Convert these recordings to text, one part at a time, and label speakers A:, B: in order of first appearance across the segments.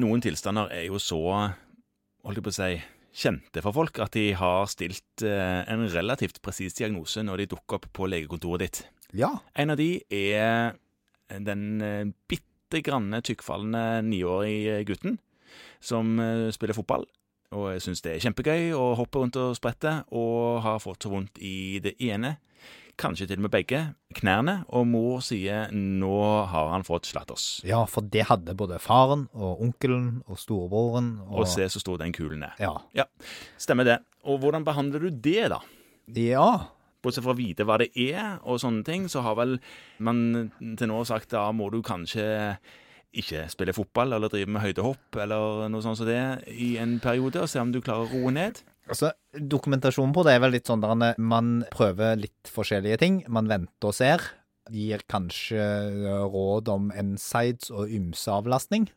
A: noen tilstander er jo så holdt jeg på å si, kjente for folk at de har stilt eh, en relativt presis diagnose når de dukker opp på legekontoret ditt.
B: Ja.
A: En av de er den eh, bitte granne tykkfallende niårige gutten som eh, spiller fotball. Og jeg syns det er kjempegøy å hoppe rundt og sprette, og har fått så vondt i det ene, kanskje til og med begge, knærne. Og mor sier nå har han fått slatters.
B: ja, for det hadde både faren og onkelen og storebroren. Og,
A: Og se så stor den kulen er.
B: Ja.
A: Stemmer det. Og hvordan behandler du det, da?
B: ja.
A: Bortsett fra å vite hva det er og sånne ting, så har vel man til nå sagt da må du kanskje ikke spille fotball eller drive med høydehopp eller noe sånt som det i en periode, og se om du klarer å roe ned.
B: Altså, Dokumentasjonen på det er vel litt sånn der en- man prøver litt forskjellige ting. Man venter og ser. Gir kanskje eh, råd om n-sides og ymse avlastning.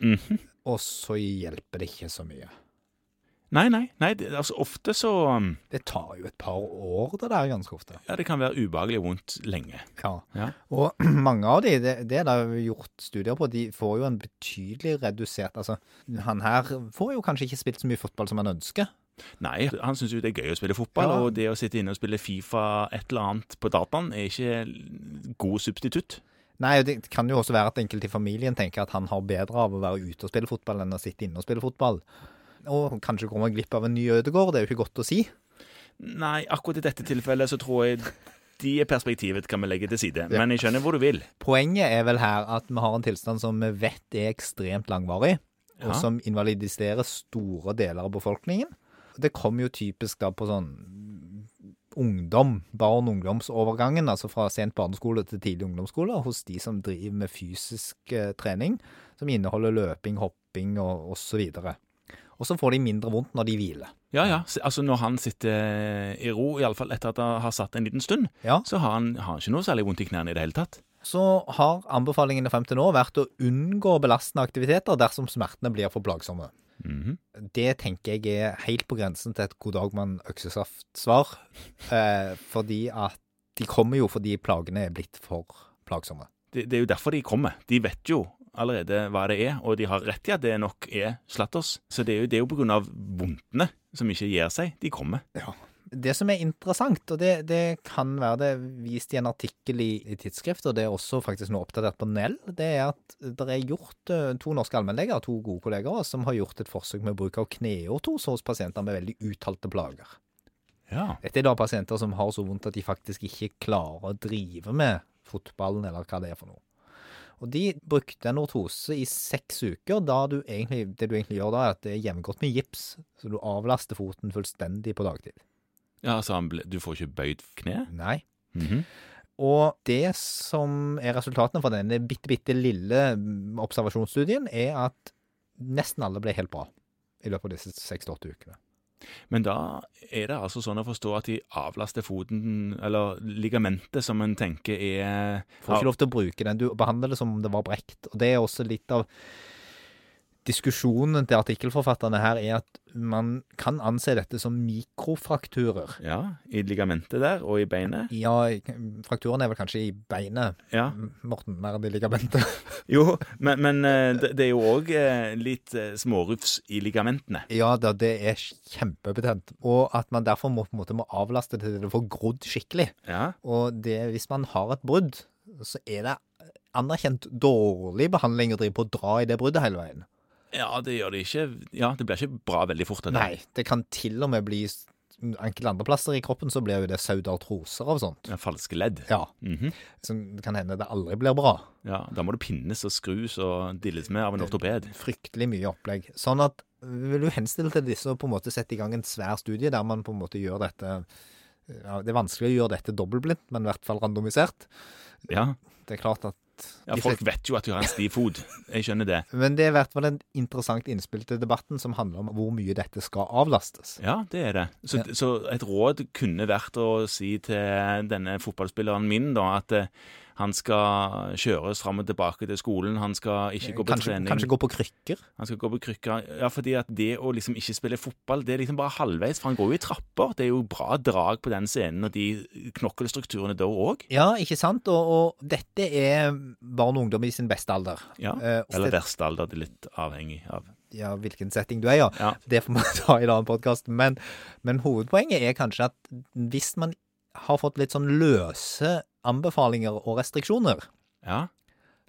A: Mhm.
B: Og så hjelper det ikke så mye.
A: Nei, nei. nei det, altså, ofte så um,
B: Det tar jo et par år, det der, ganske ofte.
A: Ja, det kan være ubehagelig vondt lenge.
B: Ja.
A: Ja.
B: Og mange av de, det, det er det gjort studier på, de får jo en betydelig redusert Altså, han her får jo kanskje ikke spilt så mye fotball som han ønsker.
A: Nei, han syns jo det er gøy å spille fotball,
B: Ja.
A: og det å sitte inne og spille Fifa et eller annet på dataen er ikke god substitutt.
B: Nei, og det kan jo også være at enkelte i familien tenker at han har bedre av å være ute og spille fotball enn å sitte inne og spille fotball. Og kanskje går man glipp av en ny Ødegård, det er jo ikke godt å si.
A: Nei, akkurat i dette tilfellet så tror jeg det perspektivet kan vi legge til side. Men jeg skjønner hvor du vil.
B: Poenget er vel her at vi har en tilstand som vi vet er ekstremt langvarig, og
A: Ja.
B: som invalidiserer store deler av befolkningen. Det kommer jo typisk da på sånn ungdom, barn- og ungdomsovergangen, altså fra sent barneskole til tidlig ungdomsskole, hos de som driver med fysisk eh, trening, som inneholder løping, hopping og osv. Og så får de mindre vondt når de hviler.
A: Ja, ja. s- Altså Når han sitter i ro, iallfall etter at han har satt en liten stund,
B: Ja.
A: så har han, har han ikke noe særlig vondt i knærne i det hele tatt.
B: Så har anbefalingene frem til nå vært å unngå belastende aktiviteter dersom smertene blir for plagsomme.
A: Mhm.
B: Det tenker jeg er helt på grensen til et god dag mann øksesaft-svar. Eh, fordi at de kommer jo fordi plagene er blitt for plagsomme.
A: det, det er jo derfor de kommer. De vet jo allerede hva det er, og de har rett i at det nok er slatters. Så det er jo, det er jo på grunn av vondtene som ikke gir seg. De kommer.
B: Det som er interessant, og det, det kan være det vist i en artikkel i, i tidsskrift, og det er også faktisk nå oppdatert på Nell, det er at det er gjort eh, to norske allmennleger, to gode kolleger, av oss, som har gjort et forsøk med bruk av kneortos hos pasienter med veldig uttalte plager.
A: Ja.
B: Dette er da pasienter som har så vondt at de faktisk ikke klarer å drive med fotballen, eller hva det er for noe. Og de brukte en ortose i seks uker. Da du egentlig, det du egentlig gjør da, er at det er jevngodt med gips, så du avlaster foten fullstendig på dagtid.
A: ja så han ble, du får ikke bøyd kne?
B: Nei.
A: Mhm.
B: Og det som er resultatene fra denne bitte, bitte lille mm, observasjonsstudien, er at nesten alle ble helt bra i løpet av disse seks til åtte ukene.
A: Men da er det altså sånn å forstå at de avlaster foten, eller ligamentet, som en tenker er
B: Får ikke lov til å bruke den. Du behandler det som om det var brekt. Og det er også litt av diskusjonen til artikkelforfatterne her, er at man kan anse dette som mikrofrakturer.
A: Ja, i ligamentet der, og i beinet.
B: Ja, frakturene er vel kanskje i beinet.
A: Ja.
B: Morten, mer enn i ligamentet.
A: Jo, men, men eh, det det er jo òg litt eh, smårufs i ligamentene.
B: Ja da, det er kjempebetent. Og at man derfor må, på en måte må avlaste det til det får grodd skikkelig.
A: Ja.
B: Og det, hvis man har et brudd, så er det anerkjent dårlig behandling å drive på å dra i det bruddet hele veien.
A: ja, det gjør det ikke Ja, det blir ikke bra veldig fort. av det.
B: Nei, det kan til og med bli s- enkelte andre plasser i kroppen, så blir jo det saudartroser av sånt.
A: Ja, falske ledd.
B: Ja,
A: Mhm.
B: som kan hende det aldri blir bra.
A: Ja, Da må du pinnes og skrus og dilles med av en ortoped.
B: Fryktelig mye opplegg. Sånn at vil du henstille til disse å på en måte sette i gang en svær studie der man på en måte gjør dette ja, Det er vanskelig å gjøre dette dobbeltblindt, men i hvert fall randomisert.
A: Ja.
B: Det er klart at
A: ja,
B: De
A: Folk vet jo at du har en stiv fot. Jeg skjønner det.
B: Men det er i hvert fall en interessant innspill til debatten som handler om hvor mye dette skal avlastes.
A: Ja, det er det. Så, så et råd kunne vært å si til denne fotballspilleren min da, at eh, han skal kjøres fram og tilbake til skolen, han skal ikke gå på
B: Kanskje,
A: trening.
B: kanskje gå på krykker?
A: Han skal gå på krykker. Ja, fordi at det å liksom ikke spille fotball, det er liksom bare halvveis, for han går jo i trapper. Det er jo bra drag på den scenen og de knokkelstrukturene da òg.
B: Ja, ikke sant? Og, og dette er barn og ungdom i sin beste alder.
A: Ja.
B: Eh, og
A: Eller
B: det,
A: verste alder, det er litt avhengig av.
B: ja, hvilken setting du er i, ja.
A: Ja.
B: Det får man ta i en annen podkast. Men, men hovedpoenget er kanskje at hvis man har fått litt sånn løse anbefalinger og restriksjoner,
A: ja.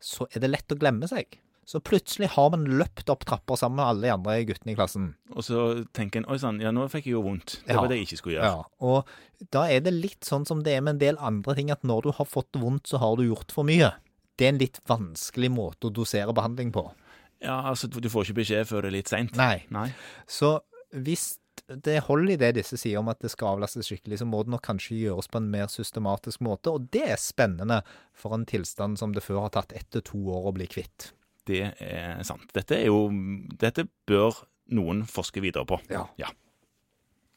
B: så er det lett å glemme seg. Så plutselig har man løpt opp trapper sammen med alle de andre guttene i klassen.
A: Og så tenker en oi sann, ja, nå fikk jeg jo vondt. Det
B: Ja.
A: var det jeg ikke skulle gjøre.
B: Ja, og da er det litt sånn som det er med en del andre ting, at når du har fått vondt, så har du gjort for mye. Det er en litt vanskelig måte å dosere behandling på.
A: Ja, altså, du får ikke beskjed før det er litt seint.
B: Nei.
A: Nei.
B: Så hvis det holder i det disse sier om at det skal avlastes skikkelig, så må det nok kanskje gjøres på en mer systematisk måte, og det er spennende for en tilstand som det før har tatt ett til to år å bli kvitt.
A: Det er sant. Dette er jo Dette bør noen forske videre på.
B: Ja.
A: Ja.